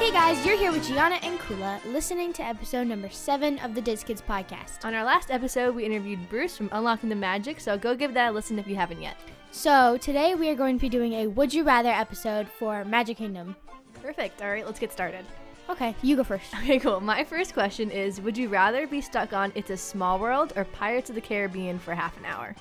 Hey guys, you're here with Gianna and Kula, listening to episode number seven of the Diz Kids podcast. On our last episode, we interviewed Bruce from Unlocking the Magic, so go give that a listen if you haven't yet. So today we are going to be doing a Would You Rather episode for Magic Kingdom. Perfect. All right, let's get started. Okay, you go first. Okay, cool. My first question is Would you rather be stuck on It's a Small World or Pirates of the Caribbean for half an hour?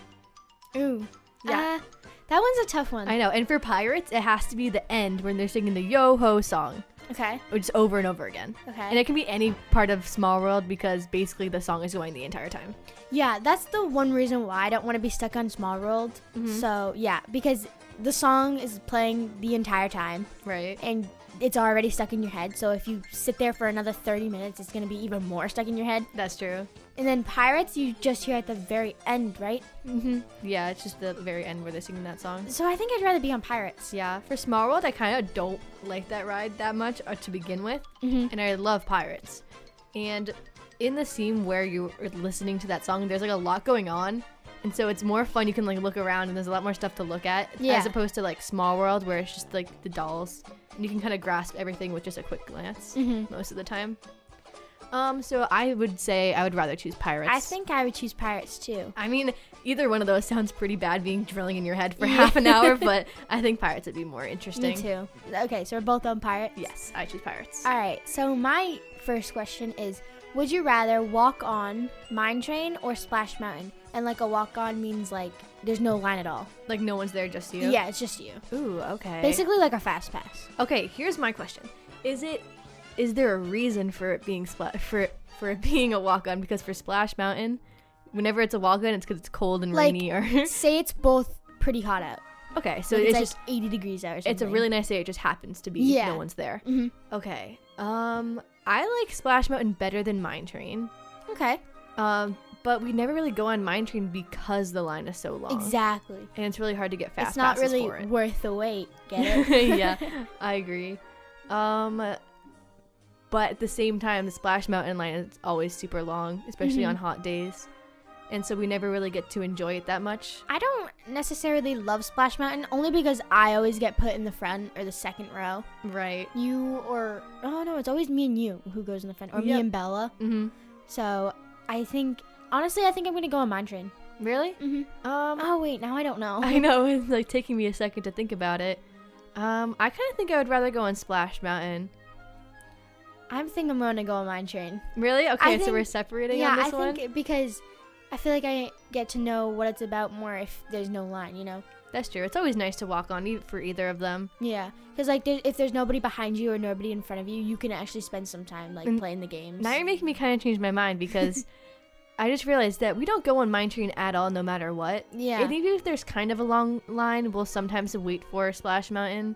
Ooh, Yeah. Uh, that one's a tough one. I know. And for Pirates, it has to be the end when they're singing the Yo Ho song, okay, which is over and over again. okay. And it can be any part of Small World because basically the song is going the entire time. yeah, that's the one reason why I don't want to be stuck on Small World. Mm-hmm. So yeah, because the song is playing the entire time Right. and it's already stuck in your head. So if you sit there for another 30 minutes, it's going to be even more stuck in your head. That's true. And then Pirates, you just hear at the very end, right? hmm Yeah, it's just the very end where they're singing that song. So I think I'd rather be on Pirates. Yeah, for Small World, I kind of don't like that ride that much uh, to begin with, Mhm. and I love Pirates. And in the scene where you are listening to that song, there's like a lot going on, and so it's more fun. You can like look around, and there's a lot more stuff to look at, Yeah. as opposed to like Small World, where it's just like the dolls, and you can kind of grasp everything with just a quick glance Mm-hmm. most of the time. Um, so I would say I would rather choose Pirates. I think I would choose Pirates too. I mean, either one of those sounds pretty bad being drilling in your head for Yeah. half an hour, but I think pirates would be more interesting. Me too. Okay, so we're both on Pirates? Yes, I choose pirates. All right, so my first question is Would you rather walk on Mine Train or Splash Mountain? And like a walk on means like there's no line at all. like no one's there, just you. Yeah, it's just you. Ooh, okay. Basically, like a fast pass. okay. Here's my question: Is it? Is there a reason for it being splat for it- for it being a walk on? Because for Splash Mountain, whenever it's a walk on, it's because it's cold and Like- rainy. Or Say it's both pretty hot out. okay, so So it's, it's like just 80 degrees out or something. it's a really nice day. It just happens to be Yeah. no one's there. Mhm. Okay. Um, I like Splash Mountain better than Mine Train. Okay. Um, but we never really go on Mine Train because the line is so long. Exactly. And it's really hard to get fast it's not passes really for it. worth the wait. Get it? yeah, I agree. Um, but at the same time, the Splash Mountain line is always super long, especially Mhm. on hot days. And so we never really get to enjoy it that much. I don't necessarily love Splash Mountain only because I always get put in the front or the second row. Right. You or oh no, it's always me and you who goes in the front or me Yep. and Bella. Mm-hmm. So I think honestly, I think I'm gonna go on Mine Train. Really? Mm-hmm. Um, Oh wait, now I don't know. I know it's like taking me a second to think about it. Um, I kind of think I would rather go on Splash Mountain. I think I'm gonna go on Mine Train. Really? Okay, so think- we're separating yeah, on this I one. think it- because I feel like I get to know what it's about more if there's no line, you know. That's true. It's always nice to walk on e- for either of them. Yeah, because like there, if there's nobody behind you or nobody in front of you, you can actually spend some time like And playing the games. Now you're making me kind of change my mind because I just realized that we don't go on Mine Train at all, no matter what. Yeah. And even if there's kind of a long line, we'll sometimes wait for Splash Mountain,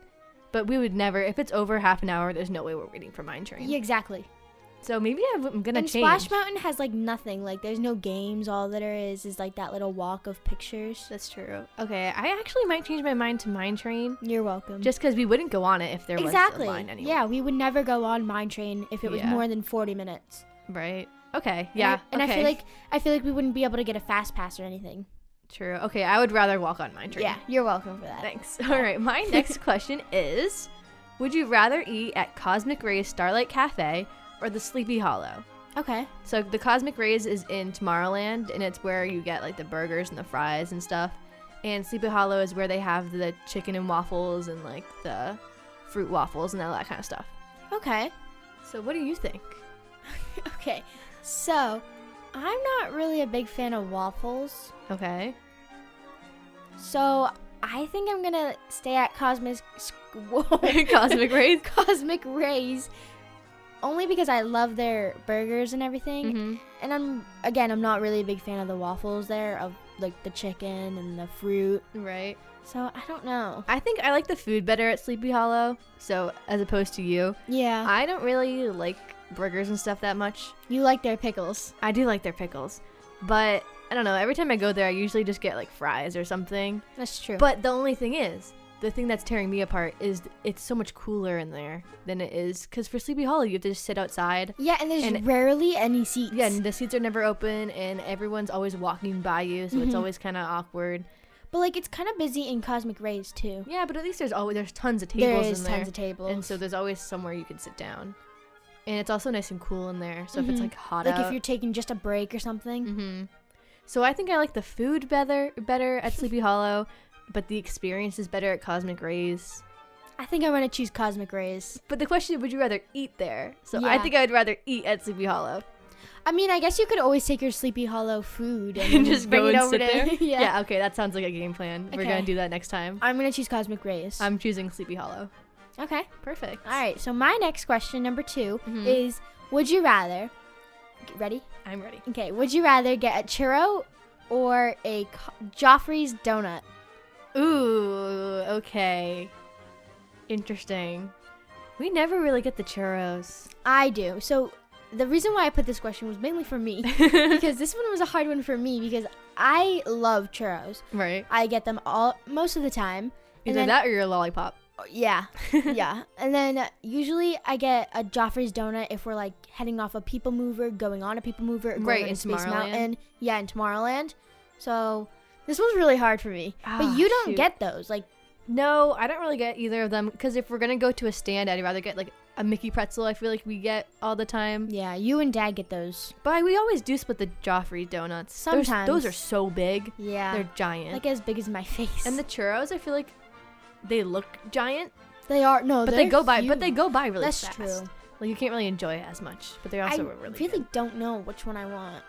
but we would never. If it's over half an hour, there's no way we're waiting for Mine Train. yeah, exactly. So maybe I w- I'm gonna and change. Splash Mountain has like nothing. Like there's no games. All that there is is like that little walk of pictures. That's true. Okay, I actually might change my mind to Mine Train You're welcome. just because we wouldn't go on it if there exactly. was a line anyway. Yeah, we would never go on Mine Train if it was Yeah. more than 40 minutes. Right. And Okay. I- Yeah. And I, okay. feel like I feel like we wouldn't be able to get a fast pass or anything. true. Okay, I would rather walk on Mine Train. Yeah, you're welcome for that. Thanks. All right, my next question is Would you rather eat at Cosmic Rays Starlight Cafe or the Sleepy Hollow? Okay. So, the Cosmic Rays is in Tomorrowland, and it's where you get like the burgers and the fries and stuff. And Sleepy Hollow is where they have the chicken and waffles and like the fruit waffles and all that kind of stuff. Okay. So, what do you think? Okay. So, I'm not really a big fan of waffles. Okay. So I think I'm gonna stay at Cosmic whoa, Cosmic Rays? Cosmic Rays, only because I love their burgers and everything. hmm And I'm again, I'm not really a big fan of the waffles there, of like the chicken and the fruit. Right. So I don't know. I think I like the food better at Sleepy Hollow, so as opposed to you. Yeah, I don't really like burgers and stuff that much. you like their pickles. I do like their pickles, but I don't know. Every time I go there, I usually just get like fries or something. That's true. But But the only thing is, the thing that's tearing me apart is it's so much cooler in there than it is. Because for Sleepy Hollow, you have to just sit outside. yeah, and there's and- rarely any seats. Mm-hmm. Yeah, and the seats are never open, and everyone's always walking by you, so it's always kind of awkward. But like it's kind of busy in Cosmic Rays too. Yeah, but at least there's always there's tons of There tables is in there, tons of tables. and so there's always somewhere you can sit down, and it's also nice and cool in there. So if it's Mhm. like hot like out, if you're taking just a break or something. hmm So I think I like the food better better at Sleepy Hollow, but the experience is better at Cosmic Rays. I think I'm gonna choose Cosmic Rays. But the question is, would you rather eat there? So I Yeah. think I would rather eat at Sleepy Hollow. I mean, I guess you could always take your Sleepy Hollow food and, And then just bring go it and over sit to there? yeah. okay, that sounds like a game plan. We're gonna Okay. do that next time. I'm gonna choose Cosmic Rays. I'm choosing Sleepy Hollow. okay. Perfect. All right. So my next question, number 2 Mhm. is: Would you rather? Ready? I'm ready. Okay. Would you rather get a churro or a co- Joffrey's donut? Ooh, okay. Interesting. We never really get the churros. I do. So the reason why I put this question was mainly for me because this one was a hard one for me because I love churros. right. I get them all most of the time. Either And then- that or your lollipop. Yeah, yeah. And then uh, usually I get a Joffrey's donut if we're like heading off a people mover, going on a people mover, or going Right, on in a Space Tomorrowland. Mountain. Yeah, in Tomorrowland. So this one's really hard for me. Ah, but you don't shoot. get those. Like, No, I don't really get either of them because if we're gonna go to a stand, I'd rather get like a Mickey pretzel. I feel like we get all the time, yeah, you and Dad get those. but we always do split the Joffrey donuts. There's- Sometimes. those are so big, Yeah, they're giant. like as big as my face. and the churros, I feel like they look giant, they are no, but they Oh, they're go by, but huge. they go by really That's fast. true. Like you can't really enjoy it as much, but they I also were really, really. good. don't know which one I want.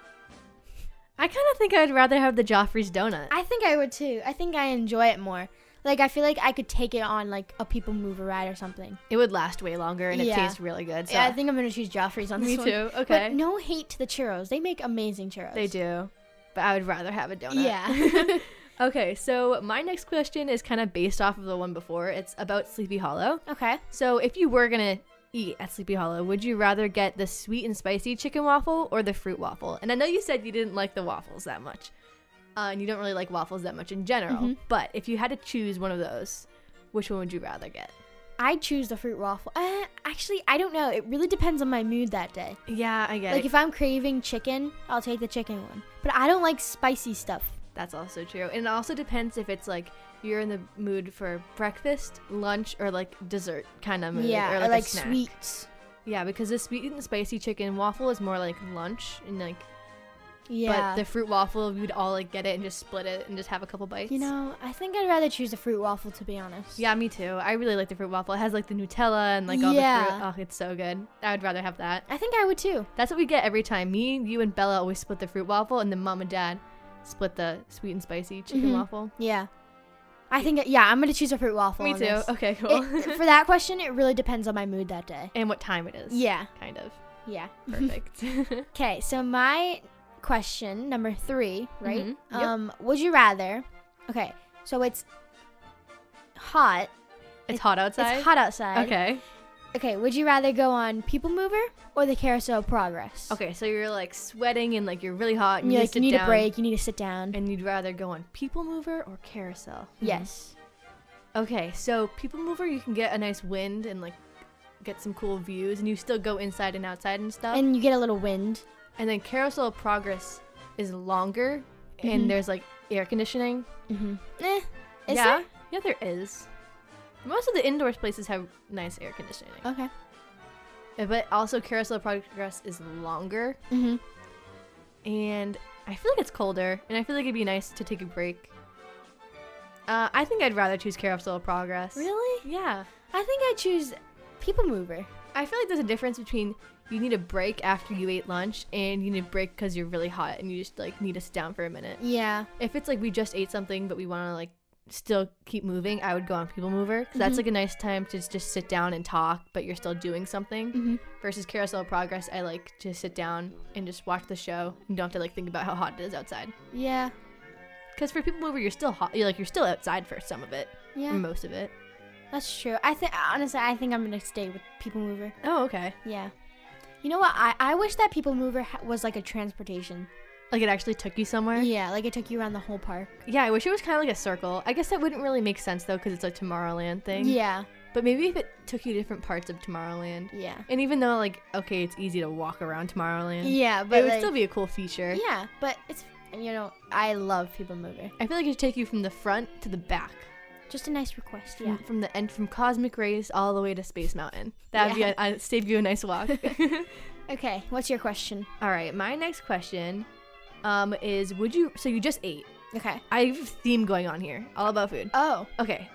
I kind of think I'd rather have the Joffrey's donut. I think I would too. I think I enjoy it more. Like I feel like I could take it on like a people mover ride or something. It would last way longer, and it Yeah. tastes really good. So Yeah, I think I'm gonna choose Joffrey's on this me one. too. But Okay, no hate to the churros. They make amazing churros. they do, but I would rather have a donut. Yeah. Okay, so my next question is kind of based off of the one before. It's about Sleepy Hollow. okay. So, if you were gonna eat at Sleepy Hollow, would you rather get the sweet and spicy chicken waffle or the fruit waffle? And I know you said you didn't like the waffles that much, uh, and you don't really like waffles that much in general. Mhm. But if you had to choose one of those, which one would you rather get? I choose the fruit waffle. Uh, actually, I don't know. It really depends on my mood that day. Yeah, I get Like if I'm craving chicken, I'll take the chicken one. But I don't like spicy stuff. That's also true, and it also depends if it's like you're in the mood for breakfast, lunch, or like dessert kind of mood, yeah, Um, or I like, a like snack. sweets. Yeah, because the sweet and spicy chicken waffle is more like lunch and like Yeah. but the fruit waffle we'd all like get it and just split it and just have a couple bites. you know, I think I'd rather choose the fruit waffle to be honest. Yeah, me too. I really like the fruit waffle. It has like the Nutella and like all the Yeah. fruit. Oh, it's so good. I would rather have that. I think I would too. That's what we get every time. Me, you, and Bella always split the fruit waffle, and then mom and dad split the sweet and spicy chicken Mhm. waffle. Yeah. I think yeah, I'm gonna choose a fruit waffle. me on too. this. Okay, cool. It- for that question, it really depends on my mood that day. and what time it is. Yeah, Kind of. yeah. Perfect. Okay, so my question number three, right? Mhm. Yep. Um, would you rather? Okay, so it's hot. it's hot outside. It's hot outside. Okay. Okay. Would you rather go on People Mover or the Carousel of Progress? Okay, so you're like sweating and like you're really hot and And you're you like, sit you need down. a break. You need to sit down. And mm-hmm. you'd rather go on People Mover or Carousel? Mm-hmm. Yes. Okay, so People Mover, you can get a nice wind and like get some cool views, and you still go inside and outside and stuff. And, And you get a little wind. then Carousel of Progress is longer, Mhm. and there's like air conditioning. Mm-hmm. Eh. Is yeah, yeah, there is. Most of the indoor places have nice air conditioning, there? Okay. Uh, but also Carousel of Progress is longer, Mm-hmm. and I feel like it's colder, and I feel like it'd be nice to take a break. Uh, I think I'd rather choose Carousel of Progress. Really? Yeah. I think I choose People Mover. I feel like there's a difference between you need a break after you ate lunch and you need a break because you're really hot and you just like need to sit down for a minute. Yeah. If it's like we just ate something but we want to like still keep moving, I would go on People Mover 'cause that's Mhm. like a nice time to just sit down and talk, but you're still doing something. Mm-hmm. Versus Carousel of Progress, I like to sit down and just watch the show and don't have to like think about how hot it is outside. Yeah. Because for People Mover, you're still hot. You're like you're still outside for some of it, Yeah. most of it. That's true. I think honestly, I think I'm gonna stay with People Mover. Oh, okay. Yeah. You know what? I, I wish that People Mover ha- was like a transportation. Like it actually took you somewhere. Yeah, like it took you around the whole park. Yeah, I wish it was kind of like a circle. I guess that wouldn't really make sense though, because it's a Tomorrowland thing. Yeah, But maybe if it took you to different parts of Tomorrowland, yeah, and even though like okay, it's easy to walk around Tomorrowland, yeah. but it But would like, still be a cool feature. yeah, but it's And you know, I love people mover. I feel like it should take you from the front to the back. Just a nice request, From, from the end, from Cosmic Rays all the way to Space Mountain. That would Yeah. be, a, I'd save you a nice walk. Okay, what's your question? all right, my next question um, is Would you, so you just ate. Okay. I have a theme going on here, all about food. Oh. Okay.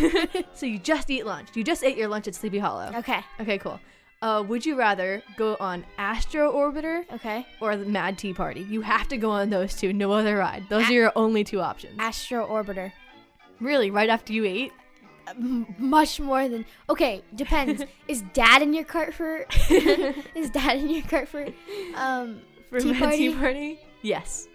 so you just eat lunch. You just ate your lunch at Sleepy Hollow. Okay. Okay, cool. Uh, would you rather go on Astro Orbiter Okay. or the Mad Tea Party? You have to go on those two, no other ride. Those are your only two options. Astro orbiter. really, right after you ate? M- much more than okay depends is dad in your cart for is dad in your cart for um For Tea Mad Party? Tea Party? Yes.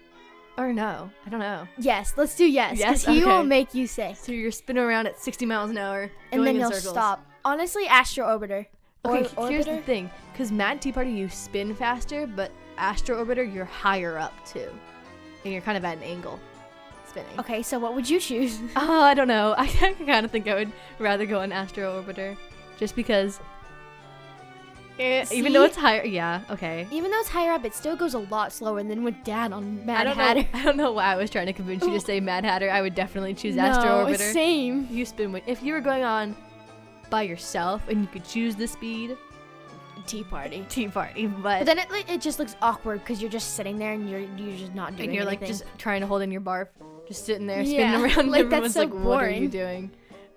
Or no. I don't know. yes let's do yes 'cause Yes? he will Okay. make you say So you're spinning around at 60 miles an hour, and going then in you'll circles. stop honestly astro orbiter Okay, Or- here's the orbiter? thing. Because Mad Tea Party, you spin faster, but Astro Orbiter, you're higher up too. And you're kind of at an angle spinning. okay so what would you choose Oh, I don't know. I, kind of think I would rather go on Astro Orbiter just because. Eh, even though See? it's higher. Yeah, okay. even though it's higher up it still goes a lot slower than with dad on I mad don't, hatter know, I don't know why I was trying to convince you to say Mad Hatter. I would definitely choose no, Astro Orbiter. same You spin with. If you were going on by yourself and you could choose the speed, tea party Tea Party, but but. then it, like, it just looks awkward because you're just sitting there and you're you're just not doing and you're like anything. just trying to hold in your barf, just sitting there Yeah, spinning around. like, and that's everyone's so like, what are you boring." doing?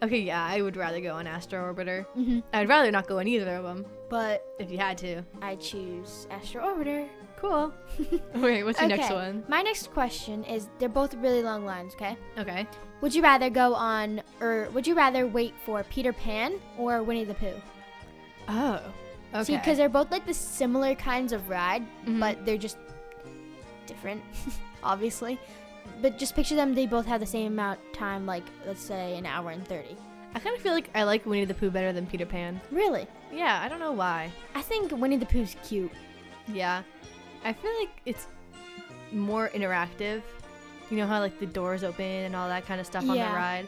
Okay, yeah, I would rather go on Astro Orbiter. Mhm. I'd rather not go on either of them but if you had to. I choose astro orbiter Cool. All right, what's your next Okay, one? My next question is they're both really long lines, okay? Okay. Would you rather go on or would you rather wait for Peter Pan or Winnie the Pooh? Oh. Okay. See, because they're both like the similar kinds of ride, Mhm. but they're just different, obviously. But just picture them, they both have the same amount time, like let's say an hour and 30. I kind of feel like I like Winnie the Pooh better than Peter Pan. Really? Yeah, I don't know why. I think Winnie the Pooh's cute. Yeah. I feel like it's more interactive. You know how like the doors open and all that kind of stuff on the Yeah. ride.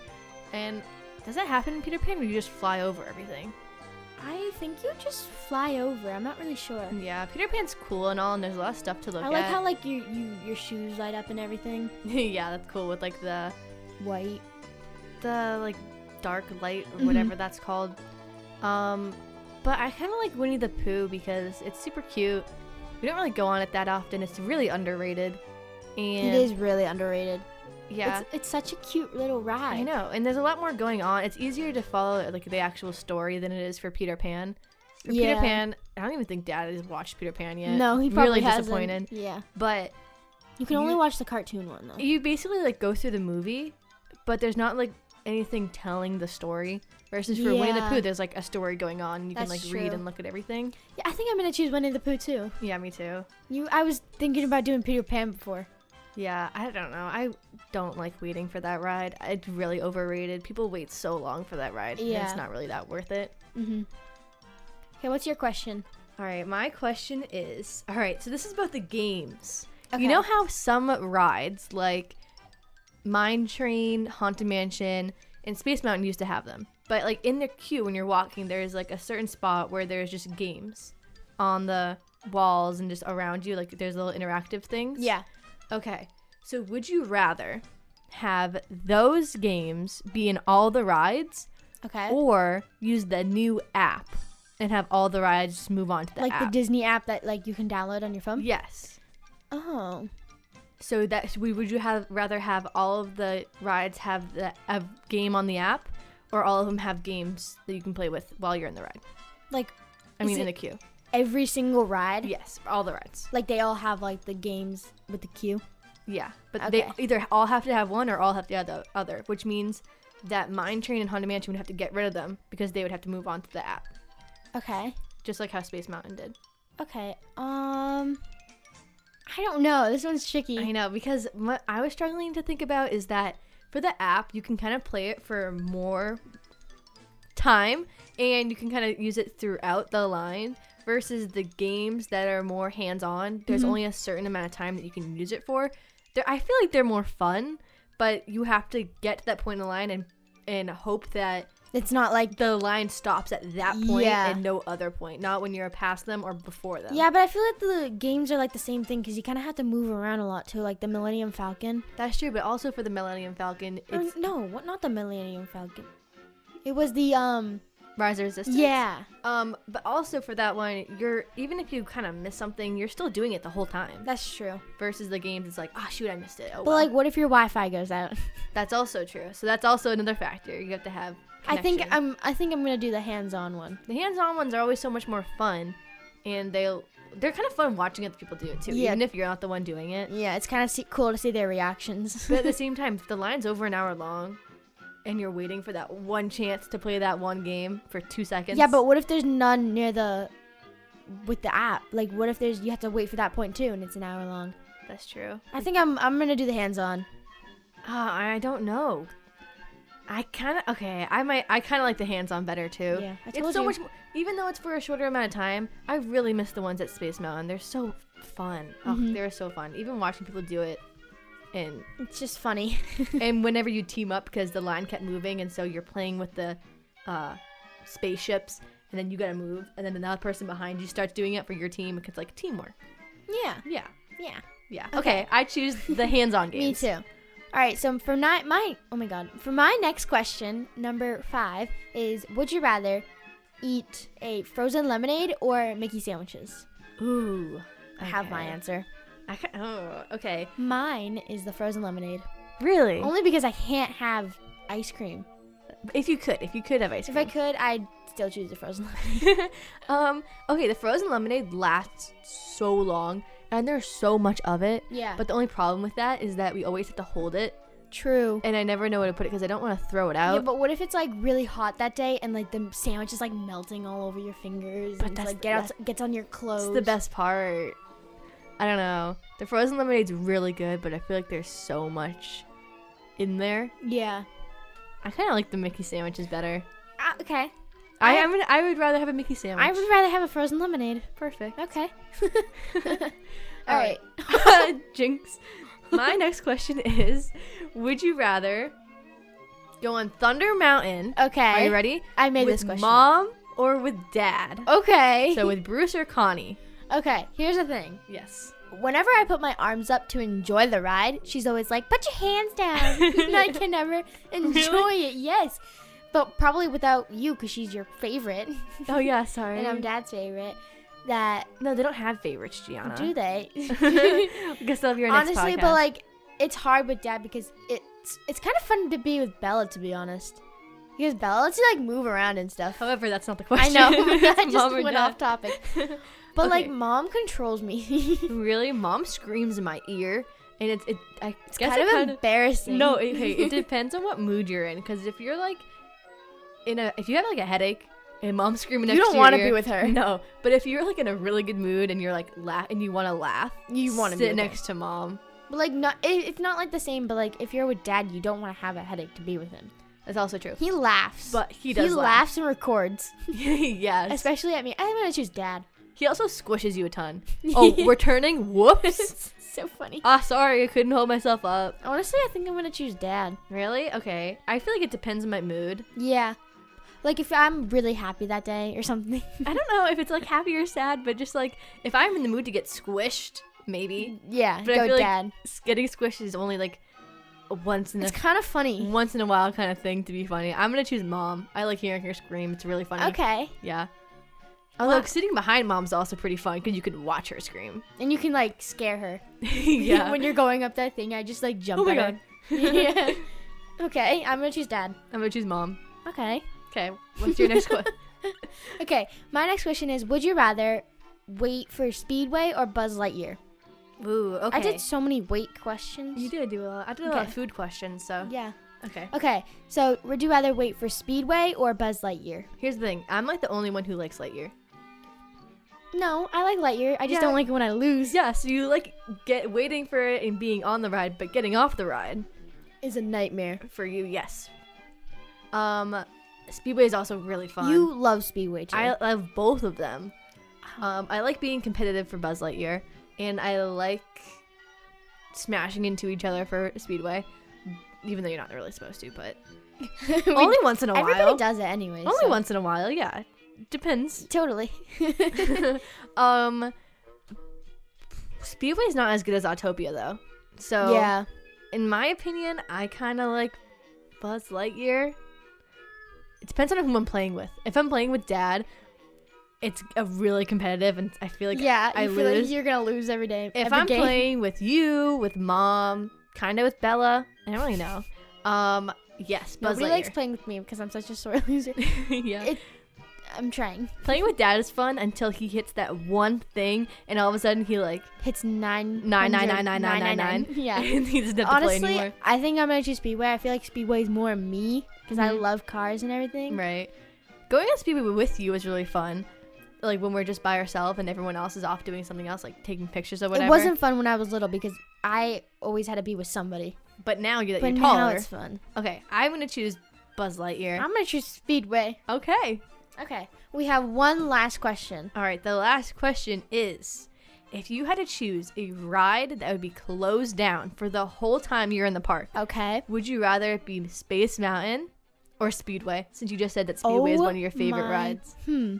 And does that happen in Peter Pan or you just fly over everything? I think you just fly over. I'm not really sure. Yeah, Peter Pan's cool and all and there's a lot of stuff to look I like at. how like you, you your shoes light up and everything. yeah, that's cool with like the White. the like dark light or Mhm. whatever that's called. Um, but I kind of like Winnie the Pooh because it's super cute. We don't really go on it that often. It's really underrated. And It is really underrated. Yeah, It's, it's such a cute little ride. I know. And there's a lot more going on. It's easier to follow like the actual story than it is for Peter Pan. For Yeah. Peter Pan, I don't even think Dad has watched Peter Pan yet. No, he I'm probably really hasn't. disappointed. Yeah. But You can only You- watch the cartoon one though. you basically like go through the movie, but there's not like anything telling the story. Versus for Winnie the Yeah. Pooh, there's like a story going on. and You That's can like read true. and look at everything. Yeah, I think I'm gonna choose Winnie the Pooh too. Yeah, me too. You, I was thinking about doing Peter Pan before. Yeah, I don't know. I don't like waiting for that ride. It's really overrated. People wait so long for that ride. and Yeah. it's not really that worth it. Mm-hmm. Okay, what's your question? All right, my question is All right, so this is about the games. Okay. You know how some rides like Mine Train, Haunted Mansion, and Space Mountain used to have them. But like in the queue when you're walking, there's like a certain spot where there's just games on the walls and just around you like there's little interactive things. Yeah. Okay. So would you rather have those games be in all the rides Okay. or use the new app and have all the rides just move on to the like app? the Disney app that like you can download on your phone. yes. Oh. So that we would you have rather have all of the rides have the a game on the app or all of them have games that you can play with while you're in the ride? Like I Is mean in it- the queue. every single ride. Yes, all the rides. Like they all have like the games with the queue. Yeah, but Okay. they either all have to have one or all have to have the other, which means that Mine Train and Haunted Mansion would have to get rid of them because they would have to move on to the app, Okay. just like how Space Mountain did. Okay. Um. I don't know. This one's tricky. I know because what I was struggling to think about is that for the app you can kind of play it for more time and you can kind of use it throughout the line versus the games that are more hands-on. Mm-hmm. There's only a certain amount of time that you can use it for. They're, I feel like they're more fun, but you have to get to that point in the line and and hope that It's not like the line stops at that point Yeah. and no other point, not when you're past them or before them. yeah, but I feel like the games are like the same thing because you kind of have to move around a lot too, like the Millennium Falcon. that's true. But also for the Millennium Falcon, Or it's no, what? Not the Millennium Falcon. It was the um. Rise of Resistance. Yeah, Um, but also for that one, you're even if you kind of miss something, you're still doing it the whole time. that's true. Versus the games, it's like, oh shoot, I missed it. Oh, But well." like, what if your Wi-Fi goes out? that's also true. So that's also another factor. You have to have. I think connection. I'm. I think I'm gonna do the hands-on one. the hands-on ones are always so much more fun, and they they're kind of fun watching other people do it too, Yeah. even if you're not the one doing it. Yeah, it's kind of see- cool to see their reactions. But at the same time, if the line's over an hour long, and you're waiting for that one chance to play that one game for two seconds. yeah, but what if there's none near the with the app? Like, what if there's you have to wait for that point too, and it's an hour long? that's true. I think I'm. I'm gonna do the hands-on. Uh, I don't know. I kind of okay. I might. I kind of like the hands-on better too. Yeah, I it's told so you. much. More, even though it's for a shorter amount of time, I really miss the ones at Space Mountain. They're so fun. Oh, Mhm. they're so fun. Even watching people do it, and It's just funny. and whenever you team up because the line kept moving, and so you're playing with the uh, spaceships, and then you gotta move, and then another person behind you starts doing it for your team because like teamwork. yeah, Yeah, yeah. yeah. Okay, Okay. I choose the hands-on games. Me too. All right, so for my, my oh my god, for my next question, number five is: Would you rather eat a frozen lemonade or Mickey sandwiches? Ooh, I have my okay. answer. I ca- oh, okay. Mine is the frozen lemonade, Really? only because I can't have ice cream. if you could, if you could have ice If cream. I could, I'd still choose the frozen lemonade. um, okay, the frozen lemonade lasts so long, and there's so much of it. Yeah, but But the only problem with that is that we always have to hold it, true. and I never know where to put it because I don't want to throw it Yeah, out. but what if it's like really hot that day and like the sandwich is like melting all over your fingers But and it's, that's like the get out, gets on your clothes? It's the best part. I don't know. The frozen lemonade's really good, but I feel like there's so much in there. Yeah. I kind of like the Mickey sandwiches better. Ah, okay. I I- I, would- I would rather have a Mickey sandwich. I would rather have a frozen lemonade. perfect. Okay. All All right. right. Jinx. My next question is Would you rather go on Thunder Mountain? Okay. Are you ready? I made with this question. up. mom or with dad? Okay. So with Bruce or Connie? okay. Here's the thing. Yes. Whenever I put my arms up to enjoy the ride, she's always like, "Put your hands down." and I can never enjoy it. Yes. But probably without you, because she's your favorite, Oh yeah, sorry. and I'm dad's favorite. That No, they don't have favorites, Gianna. do they? Guess they'll be Uh-huh. your next Honestly, podcast. but like, it's hard with dad because it's it's kind of fun to be with Bella, to be honest. Because Bella lets you like move around and stuff. However, that's not the I question. know. I Oh, It's just mom or went dad. off topic. But like, Okay. mom controls me. really, mom screams in my ear, and it's it. I it's guess kind it of kinda- embarrassing. No, it- okay, it depends on what mood you're in. Because if you're like in a, if you have like a headache and mom's screaming, You next don't want wanna be with her. No, but if you're like in a really good mood and you're like laugh and you want to laugh, You wanna be sit with her. next to mom. But like, not it, it's not like the same. But like, if you're with dad, you don't want to have a headache to be with him. That's also true. He laughs, But he does He laugh. laughs and records, yes, especially at me. I'm gonna choose dad. he also squishes you a ton. Oh, we're turning. Whoops. It's so funny. Ah, sorry, I couldn't hold myself up. Honestly, I think I'm gonna choose dad. Really? Okay. I feel like it depends on my mood. Yeah. Like if I'm really happy that day or something. I don't know if it's like happy or sad, but just like if I'm in the mood to get squished, maybe. yeah, But I go feel dad. like s- getting squished is only like a once in a it's kind of funny. once in a while kind of thing to be funny. I'm gonna choose mom. I like hearing her scream. It's really funny. Okay. Yeah. Although Wow. sitting behind mom's also pretty fun because you can watch her scream. And you can like scare her. yeah. when you're going up that thing, I just like jump oh my at her. god. yeah. Okay, I'm gonna choose dad. I'm gonna choose mom. Okay. Okay. What's your next question? Okay, my next question is Would you rather wait for Speedway or Buzz Lightyear? Ooh. Okay. I did so many wait questions. You did do a lot. I did a lot Okay. of food questions. So Yeah. okay. Okay, so would you rather wait for Speedway or Buzz Lightyear? Here's the thing. I'm like the only one who likes Lightyear. No, I like Lightyear. I just Yeah. don't like it when I lose. Yeah. So you like get waiting for it and being on the ride, but getting off the ride. Is a nightmare. for you, yes. Um, Speedway is also really fun. You love Speedway too. I love both of them. Um, I like being competitive for Buzz Lightyear, and I like smashing into each other for Speedway. even though you're not really supposed to, but We- only once in a Everybody while. does it anyway. Only so- once in a while, yeah. Depends. Totally. um Speedway's not as good as Autopia though. So yeah. in my opinion, I kind of like Buzz Lightyear. It depends on who I'm playing with. If I'm playing with Dad, it's a really competitive, and I feel like yeah. I you feel like lose. you're gonna lose every day. if every I'm game. playing with you, with Mom, kind of with Bella, I don't really know. Um, yes, Buzz nobody likes Lightyear. playing with me because I'm such a sore loser. yeah, it- I'm trying. playing with Dad is fun until he hits that one thing, and all of a sudden he like Hits nine. nine nine nine nine nine nine nine. Yeah. and he doesn't have to play Honestly, anymore. I think I'm gonna choose Speedway. I feel like Speedway is more me because I Mhm. love cars and everything. Right. Going on Speedway with you was really fun. Like when we're just by ourselves and everyone else is off doing something else, like taking pictures or whatever. It wasn't fun when I was little because I always had to be with somebody. But now you're that But you're now taller. it's fun. Okay, I'm gonna choose Buzz Lightyear. I'm gonna choose Speedway. okay. Okay, we have one last question. All right. The last question is: If you had to choose a ride that would be closed down for the whole time you're in the park, Okay. would you rather it be Space Mountain or Speedway? Since you just said that Speedway is Oh one of your favorite my- rides. Hmm.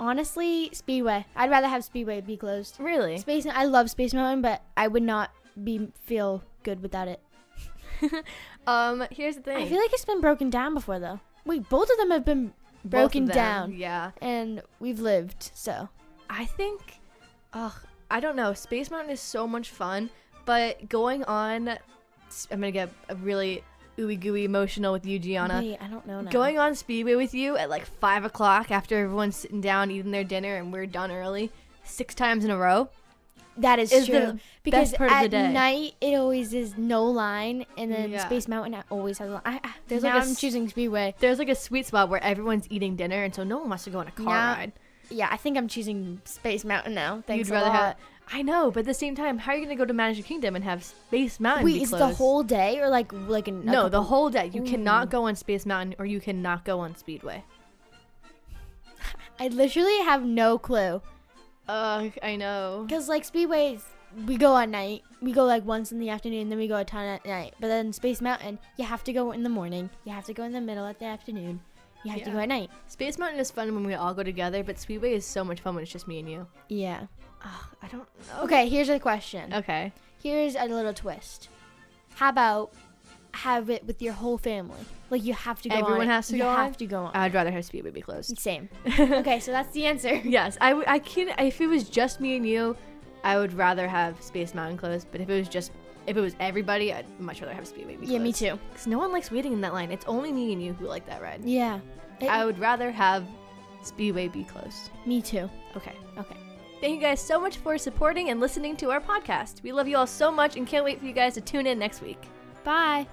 Honestly, Speedway. I'd rather have Speedway be closed. Really? Space. I love Space Mountain, but I would not be feel good without it. um. Here's the thing. I feel like it's been broken down before, though. Wait, both of them have been Both of broken them, down, Yeah. and we've lived. So I think, ugh, I don't know. Space Mountain is so much fun, but going on, I'm gonna get really ooey gooey emotional with you, Gianna. Wait, I don't know now. Going on Speedway with you at like five o'clock after everyone's sitting down eating their dinner and we're done early, six times in a row. that is, is true. the because part of the at day. night it always is no line, and then Yeah. Space Mountain always has a line. I, I, There's now like a I'm s- choosing Speedway. There's like a sweet spot where everyone's eating dinner, and so no one wants to go on a car Yeah. ride. Yeah, I think I'm choosing Space Mountain now. Thanks You'd a rather lot. have. I know, but at the same time, how are you gonna go to Magic Kingdom and have Space Mountain? Wait, be it's the closed? whole day or like like an No, the whole day. You Ooh. cannot go on Space Mountain or you cannot go on Speedway. I literally have no clue Ugh, I know. because like Speedways, we go at night. We go like once in the afternoon, then we go a ton at night. But then Space Mountain, you have to go in the morning. You have to go in the middle of the afternoon. You have to Yeah. go at night. Space Mountain is fun when we all go together, but Speedway is so much fun when it's just me and you. Yeah. Ugh, I don't know. Okay, here's a question. Okay. Here's a little twist. How about have it with your whole family? Like you have to go. on Everyone it. has to you go on? Uh, have to go on. I'd rather have Speedway be closed. Same. okay, so that's the answer. Yes, I, w- I can. If it was just me and you, I would rather have Space Mountain closed. But if it was just, if it was everybody, I'd much rather have Speedway be closed. Yeah, me too. Because no one likes waiting in that line. It's only me and you who like that ride. Yeah. It- I would rather have Speedway be closed. me too. Okay. Okay. Thank you guys so much for supporting and listening to our podcast. We love you all so much and can't wait for you guys to tune in next week. Bye.